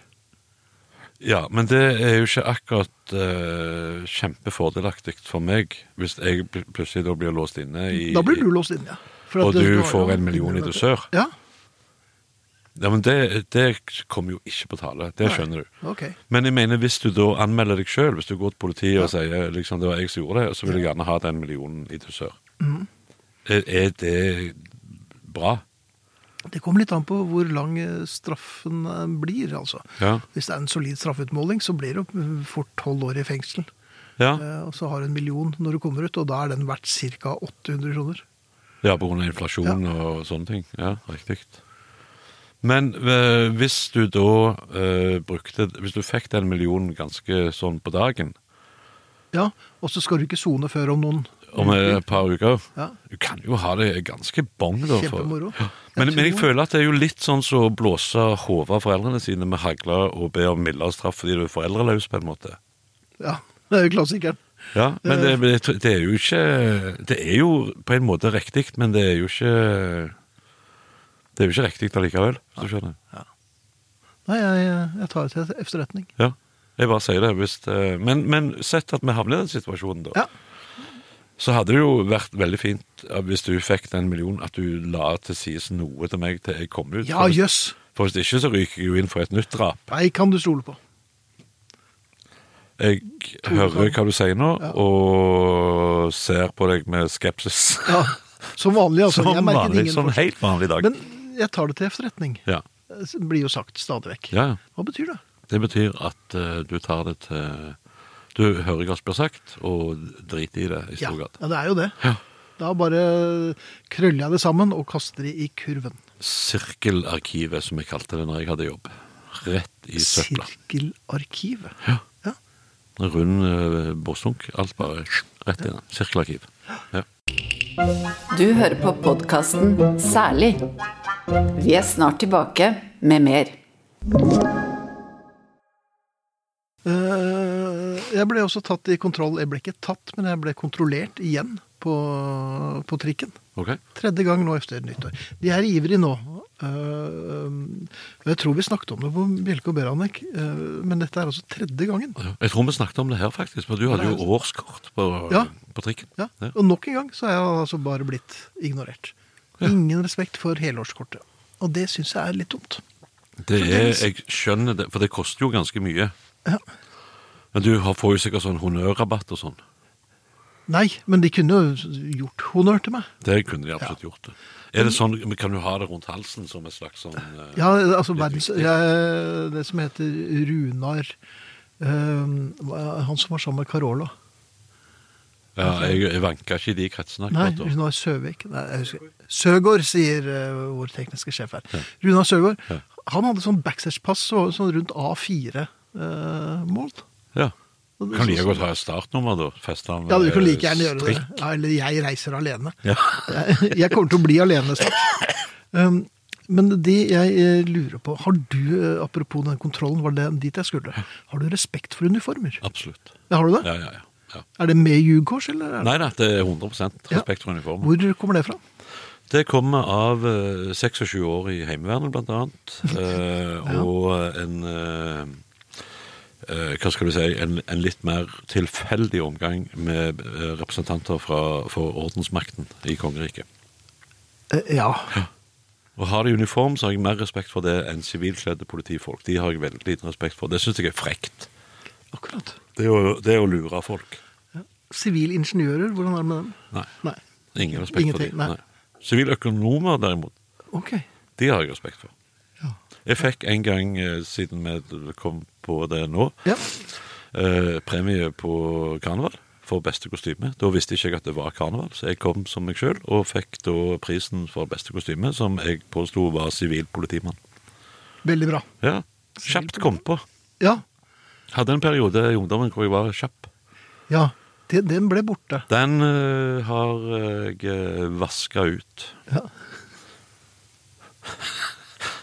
[SPEAKER 2] Ja, men det er jo ikke akkurat eh, kjempefordelaktig for meg hvis jeg pl- plutselig da blir låst inne i
[SPEAKER 3] Da blir du låst inne, ja. For at
[SPEAKER 2] Og
[SPEAKER 3] det-
[SPEAKER 2] du
[SPEAKER 3] har jo-
[SPEAKER 2] får en million i dusør.
[SPEAKER 3] Ja,
[SPEAKER 2] Ja, men det, det kommer jo ikke på tale. Det
[SPEAKER 3] Nei.
[SPEAKER 2] skjønner du.
[SPEAKER 3] ok.
[SPEAKER 2] Men jeg mener, hvis du da anmelder deg sjøl, hvis du går til politiet og sier liksom, det var jeg som gjorde det, så vil jeg gjerne ha den millionen i dusør.
[SPEAKER 3] Mm.
[SPEAKER 2] Er, er det bra?
[SPEAKER 3] Det kommer litt an på hvor lang eh, straffen eh, blir, altså.
[SPEAKER 2] Ja.
[SPEAKER 3] Hvis det er en solid straffeutmåling, så blir det jo, eh, fort tolv år i fengsel.
[SPEAKER 2] Ja,
[SPEAKER 3] Eh, Og så har du en million når du kommer ut, og da er den verdt ca. 800 kroner.
[SPEAKER 2] ja på grunn av inflasjon og sånne ting. Ja, riktig. Men eh, hvis du da eh, brukte Hvis du fikk den millionen ganske sånn på dagen,
[SPEAKER 3] Ja, og så skal du ikke sone før om noen
[SPEAKER 2] om eh, et par uker
[SPEAKER 3] Ja.
[SPEAKER 2] Du kan jo ha det ganske bong, da. for-
[SPEAKER 3] Kjempemoro.
[SPEAKER 2] Ja. Men,
[SPEAKER 3] Jeg
[SPEAKER 2] men jeg
[SPEAKER 3] tror-
[SPEAKER 2] føler at det er jo litt sånn som å blåse hodet av foreldrene sine med hagla og be om mildere straff fordi du er foreldreløs, på en måte.
[SPEAKER 3] Ja, det er jo klassikeren.
[SPEAKER 2] Ja, Men det, men jeg tror- det er jo ikke Det er jo på en måte riktig, men det er jo ikke Det er jo ikke riktig allikevel, hvis du skjønner.
[SPEAKER 3] Nei, jeg, jeg tar det til efterretning.
[SPEAKER 2] Ja. Jeg bare sier det. Hvis det men, men sett at vi havner i den situasjonen, da.
[SPEAKER 3] Ja.
[SPEAKER 2] Så hadde det jo vært veldig fint eh, hvis du fikk den millionen, at du la til side noe til meg til jeg kom ut.
[SPEAKER 3] Ja,
[SPEAKER 2] For-
[SPEAKER 3] jøss!
[SPEAKER 2] For hvis ikke, så ryker jeg jo inn for et nytt drap.
[SPEAKER 3] Nei, kan du stole på.
[SPEAKER 2] Jeg hører hva du sier nå,
[SPEAKER 3] Ja.
[SPEAKER 2] og ser på deg med skepsis.
[SPEAKER 3] Ja, Som vanlig, altså.
[SPEAKER 2] Som
[SPEAKER 3] jeg merket
[SPEAKER 2] vanlig,
[SPEAKER 3] ingen
[SPEAKER 2] sånn
[SPEAKER 3] forskjell.
[SPEAKER 2] helt vanlig dag.
[SPEAKER 3] Men jeg tar det til efterretning.
[SPEAKER 2] ja.
[SPEAKER 3] Det blir jo sagt stadig vekk.
[SPEAKER 2] ja, ja.
[SPEAKER 3] Hva betyr det?
[SPEAKER 2] Det betyr at eh, du tar det til Du hører hva som blir sagt, og driter i det i
[SPEAKER 3] Ja,
[SPEAKER 2] stor grad.
[SPEAKER 3] ja, det er jo det.
[SPEAKER 2] Ja.
[SPEAKER 3] Da bare krøller jeg det sammen og kaster det i kurven.
[SPEAKER 2] Sirkelarkivet, som jeg kalte det når jeg hadde jobb. Rett i søpla.
[SPEAKER 3] Sirkelarkivet.
[SPEAKER 2] Ja.
[SPEAKER 3] Ja.
[SPEAKER 2] Rund eh, båsdunk. Alt bare rett i den. Sirkelarkiv. Ja.
[SPEAKER 1] Du hører på podkasten Særlig. Vi er snart tilbake med mer.
[SPEAKER 3] Eh, Jeg ble også tatt i kontroll. Jeg ble ikke tatt, men jeg ble kontrollert igjen på, på trikken.
[SPEAKER 2] OK?
[SPEAKER 3] Tredje gang nå etter nyttår. De er ivrige nå. Eh, Jeg tror vi snakket om det på Bjelke og Beranek, eh, men dette er altså tredje gangen.
[SPEAKER 2] Ja. Jeg tror vi snakket om det her, faktisk. For du hadde jo årskort på,
[SPEAKER 3] Ja.
[SPEAKER 2] på trikken.
[SPEAKER 3] Ja.
[SPEAKER 2] Ja.
[SPEAKER 3] Og nok en gang så er jeg altså bare blitt ignorert. Ingen respekt for helårskortet. Og det syns jeg er litt dumt.
[SPEAKER 2] Det er,
[SPEAKER 3] Fremdeles.
[SPEAKER 2] jeg skjønner det, for det koster jo ganske mye.
[SPEAKER 3] Ja.
[SPEAKER 2] Men du har, får jo sikkert sånn honnørrabatt og sånn.
[SPEAKER 3] Nei, men de kunne jo gjort honnør til meg.
[SPEAKER 2] Det kunne de absolutt gjort. det. Er det sånn, men Kan du ha det rundt halsen som en slags sånn eh,
[SPEAKER 3] Ja, altså
[SPEAKER 2] litt
[SPEAKER 3] verdens,
[SPEAKER 2] viktig?
[SPEAKER 3] jeg, eh, Det som heter Runar øhm, hva- Han som var sammen med Carola.
[SPEAKER 2] ja, jeg, jeg vanka ikke i de kretsene
[SPEAKER 3] Nei,
[SPEAKER 2] akkurat da.
[SPEAKER 3] Runar Søvik. Nei, jeg husker. Søgaard, sier øh, vår tekniske sjef her. Runar Søgaard. Han hadde sånn backstagepass så, sånn rundt eh, A4-mål.
[SPEAKER 2] Ja. Kan like godt ha et startnummer, da. Feste han
[SPEAKER 3] Ja, du kan
[SPEAKER 2] eh,
[SPEAKER 3] like gjerne gjøre det.
[SPEAKER 2] strikk.
[SPEAKER 3] Ja, eller jeg reiser alene.
[SPEAKER 2] Ja.
[SPEAKER 3] Jeg, jeg kommer til å bli alene snart. Um, men det jeg eh, lurer på, har du, eh, apropos den kontrollen, var det dit jeg skulle, har du respekt for uniformer?
[SPEAKER 2] Absolutt.
[SPEAKER 3] Ja, har du det?
[SPEAKER 2] Ja, ja, ja. ja.
[SPEAKER 3] Er det med jugkors, eller? er det-
[SPEAKER 2] Nei da, det er 100 respekt for uniformen.
[SPEAKER 3] Hvor kommer det fra?
[SPEAKER 2] Det kommer av eh, 26 år i Heimevernet, blant annet. eh, Og en eh, eh, Hva skal du si En, en litt mer tilfeldig omgang med eh, representanter fra, for ordensmakten i kongeriket.
[SPEAKER 3] Eh, ja.
[SPEAKER 2] Og har de uniform, så har jeg mer respekt for det enn sivilkledde politifolk. De har jeg veldig liten respekt for. Det syns jeg er frekt.
[SPEAKER 3] akkurat.
[SPEAKER 2] Det er å, det er å lure folk.
[SPEAKER 3] Sivilingeniører, hvordan er det med dem?
[SPEAKER 2] Nei.
[SPEAKER 3] Nei.
[SPEAKER 2] Ingen respekt
[SPEAKER 3] Ingenting,
[SPEAKER 2] for
[SPEAKER 3] nei.
[SPEAKER 2] dem. Siviløkonomer, derimot,
[SPEAKER 3] Ok.
[SPEAKER 2] de har jeg respekt for.
[SPEAKER 3] Ja.
[SPEAKER 2] Jeg fikk en gang, eh, siden vi kom på det nå,
[SPEAKER 3] ja.
[SPEAKER 2] eh, premie på karneval for beste kostyme. Da visste ikke jeg at det var karneval, så jeg kom som meg sjøl og fikk da prisen for beste kostyme, som jeg påsto var sivil politimann.
[SPEAKER 3] Veldig bra.
[SPEAKER 2] Ja, kjapt kom på.
[SPEAKER 3] Ja.
[SPEAKER 2] Hadde en periode i ungdommen hvor jeg var kjapp.
[SPEAKER 3] Ja. Den, den ble borte.
[SPEAKER 2] Den eh, har jeg vaska ut.
[SPEAKER 3] Ja.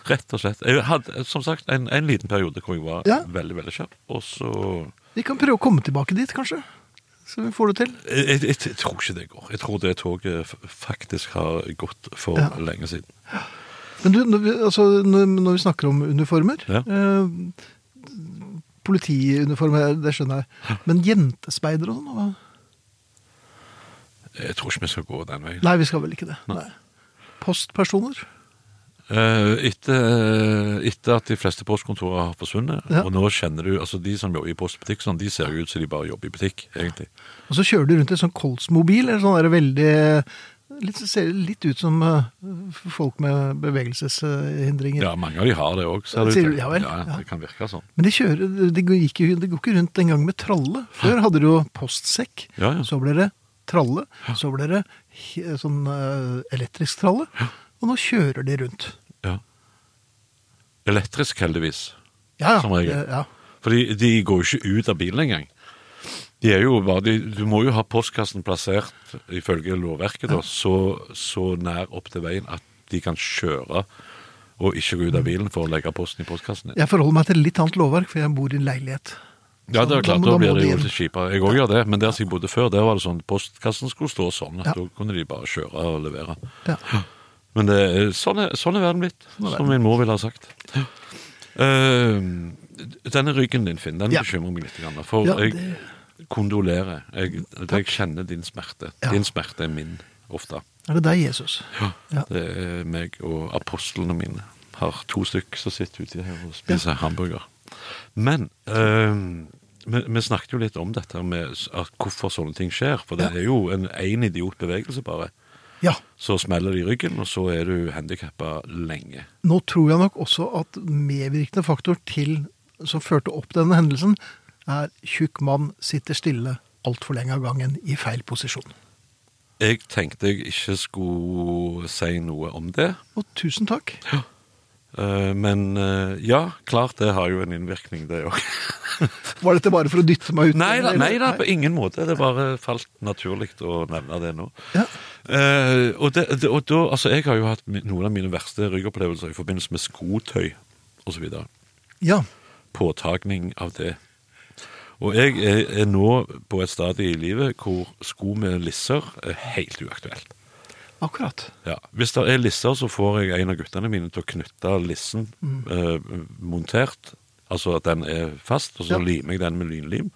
[SPEAKER 2] Rett og slett. Jeg hadde som sagt en, en liten periode hvor jeg var
[SPEAKER 3] Ja.
[SPEAKER 2] veldig, veldig kjapp, og så
[SPEAKER 3] Vi kan prøve å komme tilbake dit, kanskje. Så vi får det til.
[SPEAKER 2] jeg, jeg, jeg tror ikke det går. Jeg tror det toget f- faktisk har gått for
[SPEAKER 3] Ja.
[SPEAKER 2] lenge siden.
[SPEAKER 3] Men du, når vi, altså, når, når vi snakker om uniformer
[SPEAKER 2] Ja.
[SPEAKER 3] eh, Politiuniformer, det skjønner jeg. Men jentespeider og sånn? hva?
[SPEAKER 2] Jeg tror ikke vi skal gå den veien.
[SPEAKER 3] Nei, vi skal vel ikke det. Nei. Postpersoner?
[SPEAKER 2] Eh, etter, etter at de fleste postkontorer har forsvunnet,
[SPEAKER 3] Ja.
[SPEAKER 2] og nå kjenner du altså De som jobber i postbutikk, sånn, de ser jo ut som de bare jobber i butikk, egentlig.
[SPEAKER 3] Og så kjører du rundt i sånn Colts-mobil, eller sånn der veldig litt, Ser litt ut som eh, folk med bevegelseshindringer.
[SPEAKER 2] Ja, mange av de har det òg, ser det
[SPEAKER 3] Sier
[SPEAKER 2] ut
[SPEAKER 3] du- ja vel, ja.
[SPEAKER 2] det kan virke sånn.
[SPEAKER 3] Men de, kjører, de, går, gikk, jo- de går ikke rundt engang med tralle. Før hadde du jo postsekk.
[SPEAKER 2] Ja, ja.
[SPEAKER 3] Så ble det tralle. Så ble det he- sånn eh, elektrisk tralle. Og nå kjører de rundt.
[SPEAKER 2] Ja. Elektrisk, heldigvis.
[SPEAKER 3] Ja, ja.
[SPEAKER 2] Som regel.
[SPEAKER 3] Eh, ja.
[SPEAKER 2] Fordi de går jo ikke ut av bilen engang. De er jo bare, de, du må jo ha postkassen plassert, ifølge lovverket, da, så, så nær opp til veien at de kan kjøre og ikke gå ut av bilen for å legge posten i postkassen. din.
[SPEAKER 3] Jeg forholder meg til litt annet lovverk, for jeg bor i en leilighet.
[SPEAKER 2] Ja, det er
[SPEAKER 3] Da
[SPEAKER 2] klart,
[SPEAKER 3] må-
[SPEAKER 2] da
[SPEAKER 3] da
[SPEAKER 2] blir
[SPEAKER 3] må
[SPEAKER 2] det
[SPEAKER 3] de
[SPEAKER 2] jo
[SPEAKER 3] inn.
[SPEAKER 2] litt kjipere. Jeg òg gjør det, men der som jeg bodde før, der var det sånn postkassen skulle stå sånn. at
[SPEAKER 3] Ja.
[SPEAKER 2] Da kunne de bare kjøre og levere.
[SPEAKER 3] Ja.
[SPEAKER 2] Men det, er- sånn, er, sånn er verden blitt,
[SPEAKER 3] Sånn er
[SPEAKER 2] som min mor ville ha sagt. Eh, denne ryggen din, Finn, den
[SPEAKER 3] Ja.
[SPEAKER 2] bekymrer meg litt. Grann, for
[SPEAKER 3] Ja, det-
[SPEAKER 2] jeg kondolerer. Jeg, jeg kjenner din smerte.
[SPEAKER 3] Ja.
[SPEAKER 2] Din smerte er min ofte.
[SPEAKER 3] Er det deg, Jesus? Ja.
[SPEAKER 2] Det er meg og apostlene mine. Har to stykk som sitter ute her og spiser hamburger. Men eh, vi, vi snakket jo litt om dette med s- at hvorfor sånne ting skjer. For det
[SPEAKER 3] Ja.
[SPEAKER 2] er jo en én idiotbevegelse, bare.
[SPEAKER 3] Ja.
[SPEAKER 2] Så smeller det i ryggen, og så er du handikappa lenge.
[SPEAKER 3] Nå tror jeg nok også at medvirkende faktor til som førte opp denne hendelsen, er tjukk mann sitter stille altfor lenge av gangen i feil posisjon.
[SPEAKER 2] Jeg tenkte jeg ikke skulle si noe om det.
[SPEAKER 3] Og tusen takk.
[SPEAKER 2] Eh, Men eh, ja, klart det har jo en innvirkning, det òg.
[SPEAKER 3] Var dette bare for å dytte meg ut?
[SPEAKER 2] Nei da,
[SPEAKER 3] eller?
[SPEAKER 2] nei da, på ingen måte. Det bare falt naturlig å nevne det nå.
[SPEAKER 3] Ja.
[SPEAKER 2] Eh, og det, det, og da, altså Jeg har jo hatt mi- noen av mine verste ryggopplevelser i forbindelse med skotøy osv.
[SPEAKER 3] Ja.
[SPEAKER 2] Påtagning av det. Og jeg er, er nå på et stadie i livet hvor sko med lisser er helt uaktuelt.
[SPEAKER 3] akkurat.
[SPEAKER 2] Ja. Hvis det er lisser, så får jeg en av guttene mine til å knytte lissen
[SPEAKER 3] Mm.
[SPEAKER 2] eh, montert. Altså at den er fast, og så
[SPEAKER 3] Ja. Mhm.
[SPEAKER 2] limer jeg den med lynlim.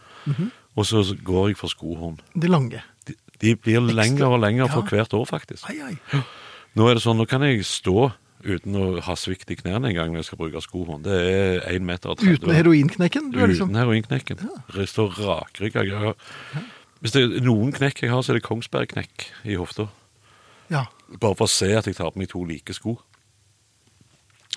[SPEAKER 2] Og så går jeg for skohorn.
[SPEAKER 3] De lange.
[SPEAKER 2] De, de blir lengre og lengre for
[SPEAKER 3] Ja.
[SPEAKER 2] hvert år, faktisk.
[SPEAKER 3] Ai, ai.
[SPEAKER 2] Nå er det sånn, nå kan jeg stå uten å ha svikt i knærne en gang når jeg skal bruke skohorn. Det er 1,30 meter.
[SPEAKER 3] Uten heroinknekken? Du er
[SPEAKER 2] Uten
[SPEAKER 3] liksom
[SPEAKER 2] heroinknekken. Jeg står rakrygga. Jeg har Hvis det er noen knekk jeg har, så er det Kongsberg-knekk i hofta.
[SPEAKER 3] Ja.
[SPEAKER 2] Bare for å se at jeg tar på meg to like sko.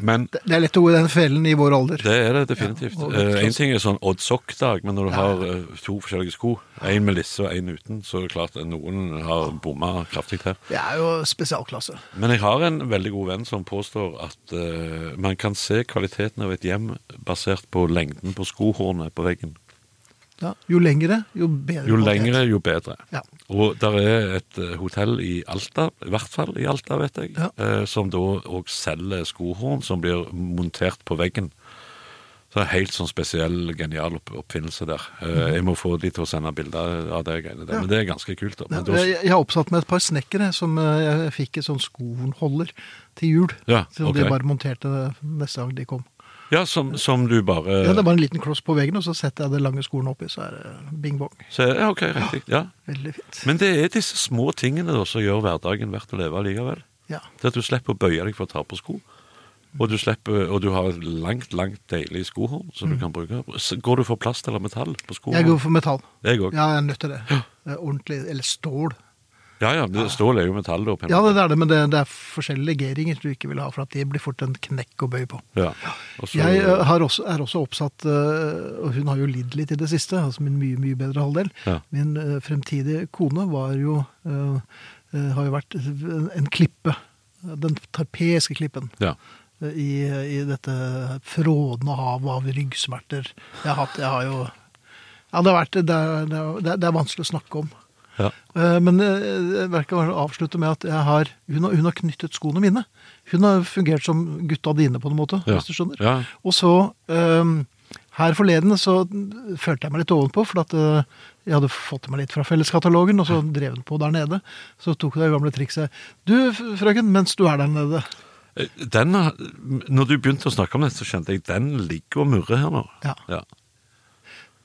[SPEAKER 2] Men
[SPEAKER 3] Det det er lett å gå i den fellen i vår alder.
[SPEAKER 2] det er det definitivt.
[SPEAKER 3] Ja, og
[SPEAKER 2] Eh,
[SPEAKER 3] vektklasse.
[SPEAKER 2] en ting er sånn odd sock-dag, men når du har eh, to forskjellige sko, én med lisse og én uten, så er det klart at noen har bomma kraftig her.
[SPEAKER 3] Det er jo spesialklasse.
[SPEAKER 2] Men jeg har en veldig god venn som påstår at eh, man kan se kvaliteten av et hjem basert på lengden på skohornet på veggen.
[SPEAKER 3] Ja. Jo lengre, jo bedre.
[SPEAKER 2] Jo
[SPEAKER 3] kvalitet.
[SPEAKER 2] lengre, jo bedre.
[SPEAKER 3] Ja.
[SPEAKER 2] Og der er et eh, hotell i Alta, i hvert fall i Alta, vet jeg,
[SPEAKER 3] Ja.
[SPEAKER 2] eh, som da òg selger skohorn som blir montert på veggen. Så det er helt sånn spesiell, genial opp oppfinnelse der. Eh, Jeg må få de til å sende bilder av det greiene der.
[SPEAKER 3] Mhm. Ja.
[SPEAKER 2] Men det er ganske kult. da.
[SPEAKER 3] Ja,
[SPEAKER 2] Men da
[SPEAKER 3] Jeg, jeg har oppsatt med et par snekkere som eh, jeg fikk et sånn skohornholder til jul.
[SPEAKER 2] Ja,
[SPEAKER 3] så
[SPEAKER 2] ok.
[SPEAKER 3] de bare monterte det neste gang de kom.
[SPEAKER 2] ja, som, som du bare
[SPEAKER 3] Ja, det er bare en liten kloss på veggen, og så setter jeg det lange skolen oppi, så er det bing bong.
[SPEAKER 2] Så, ja, OK, riktig. Ja.
[SPEAKER 3] Veldig fint.
[SPEAKER 2] Men det er disse små tingene da, som gjør hverdagen verdt å leve likevel.
[SPEAKER 3] Ja.
[SPEAKER 2] Det at du slipper å bøye deg for å ta på sko. Og du, slipper, og du har et langt, langt deilig skohorn som du kan bruke. Så går du for plast eller metall på skoene?
[SPEAKER 3] Mm. Jeg går for metall.
[SPEAKER 2] Jeg òg.
[SPEAKER 3] Ja, jeg er nødt til det. Det er Ordentlig, eller stål.
[SPEAKER 2] Ja, ja. men Stål er jo metall, da. på en
[SPEAKER 3] Ja,
[SPEAKER 2] måte.
[SPEAKER 3] det er det, men det, det er forskjellige legeringer du ikke vil ha, for at de blir fort en knekk å bøye på.
[SPEAKER 2] Ja. Og så-
[SPEAKER 3] Jeg eh, har også, er også oppsatt, eh, og hun har jo lidd litt i det siste, altså min mye, mye bedre halvdel.
[SPEAKER 2] Ja.
[SPEAKER 3] Min eh, fremtidige kone var jo, eh, eh, har jo vært en en klippe, den tarpeiske klippen,
[SPEAKER 2] ja.
[SPEAKER 3] eh, i, i dette frådende havet av ryggsmerter. Jeg har, hatt, jeg har jo, ja, det har vært, det er, det er, det er vanskelig å snakke om.
[SPEAKER 2] ja.
[SPEAKER 3] Eh, Men eh, verket var å avslutte med at jeg har, hun, har, hun har knyttet skoene mine. Hun har fungert som gutta dine, på en måte.
[SPEAKER 2] Ja.
[SPEAKER 3] hvis du skjønner.
[SPEAKER 2] Ja.
[SPEAKER 3] Og så eh, her forleden så følte jeg meg litt ovenpå, for at eh, jeg hadde fått meg litt fra felleskatalogen, og så drev den på der nede. Så tok det gamle trikset. Du, f- frøken, mens du er der nede
[SPEAKER 2] Eh, Den, har- når du begynte å snakke om dette, så kjente jeg den ligger og murrer her nå.
[SPEAKER 3] Ja.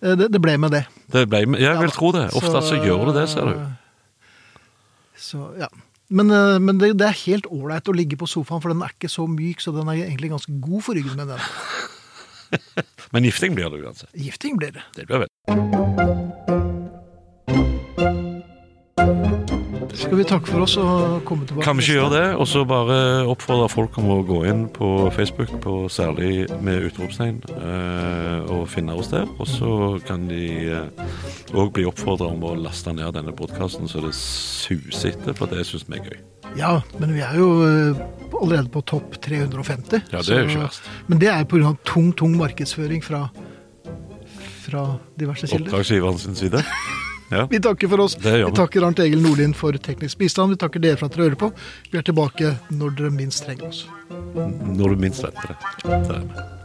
[SPEAKER 3] Eh, Det, det ble med det.
[SPEAKER 2] Det ble, jeg vil tro det. Ofte så gjør du det, ser du.
[SPEAKER 3] øh, Så, ja. Men, eh, men det, det er helt ålreit å ligge på sofaen, for den er ikke så myk, så den er egentlig ganske god for ryggen. med den.
[SPEAKER 2] Men gifting blir det uansett.
[SPEAKER 3] Gifting blir det.
[SPEAKER 2] Det blir vel.
[SPEAKER 3] Skal vi takke for oss og komme tilbake?
[SPEAKER 2] Kan vi ikke
[SPEAKER 3] neste-
[SPEAKER 2] gjøre det? Og så bare oppfordre folk om å gå inn på Facebook, på særlig med utropstegn, eh, og finne oss der. Og så kan de òg bli oppfordra om å laste ned denne podkasten så det suser etter, for det syns vi er gøy.
[SPEAKER 3] Ja, men vi er jo eh, allerede på topp 350.
[SPEAKER 2] Ja, det er jo ikke verst.
[SPEAKER 3] Men det er på grunn av tung, tung markedsføring fra, fra diverse kilder.
[SPEAKER 2] Oppdragsgiveren sin side. Ja.
[SPEAKER 3] Vi takker for oss.
[SPEAKER 2] Det gjør
[SPEAKER 3] Vi
[SPEAKER 2] vi.
[SPEAKER 3] takker Arnt Egil Nordlien for teknisk bistand. Vi takker dere for at dere hører på. Vi er tilbake når dere minst trenger oss.
[SPEAKER 2] Når du minst venter det. Der er vi.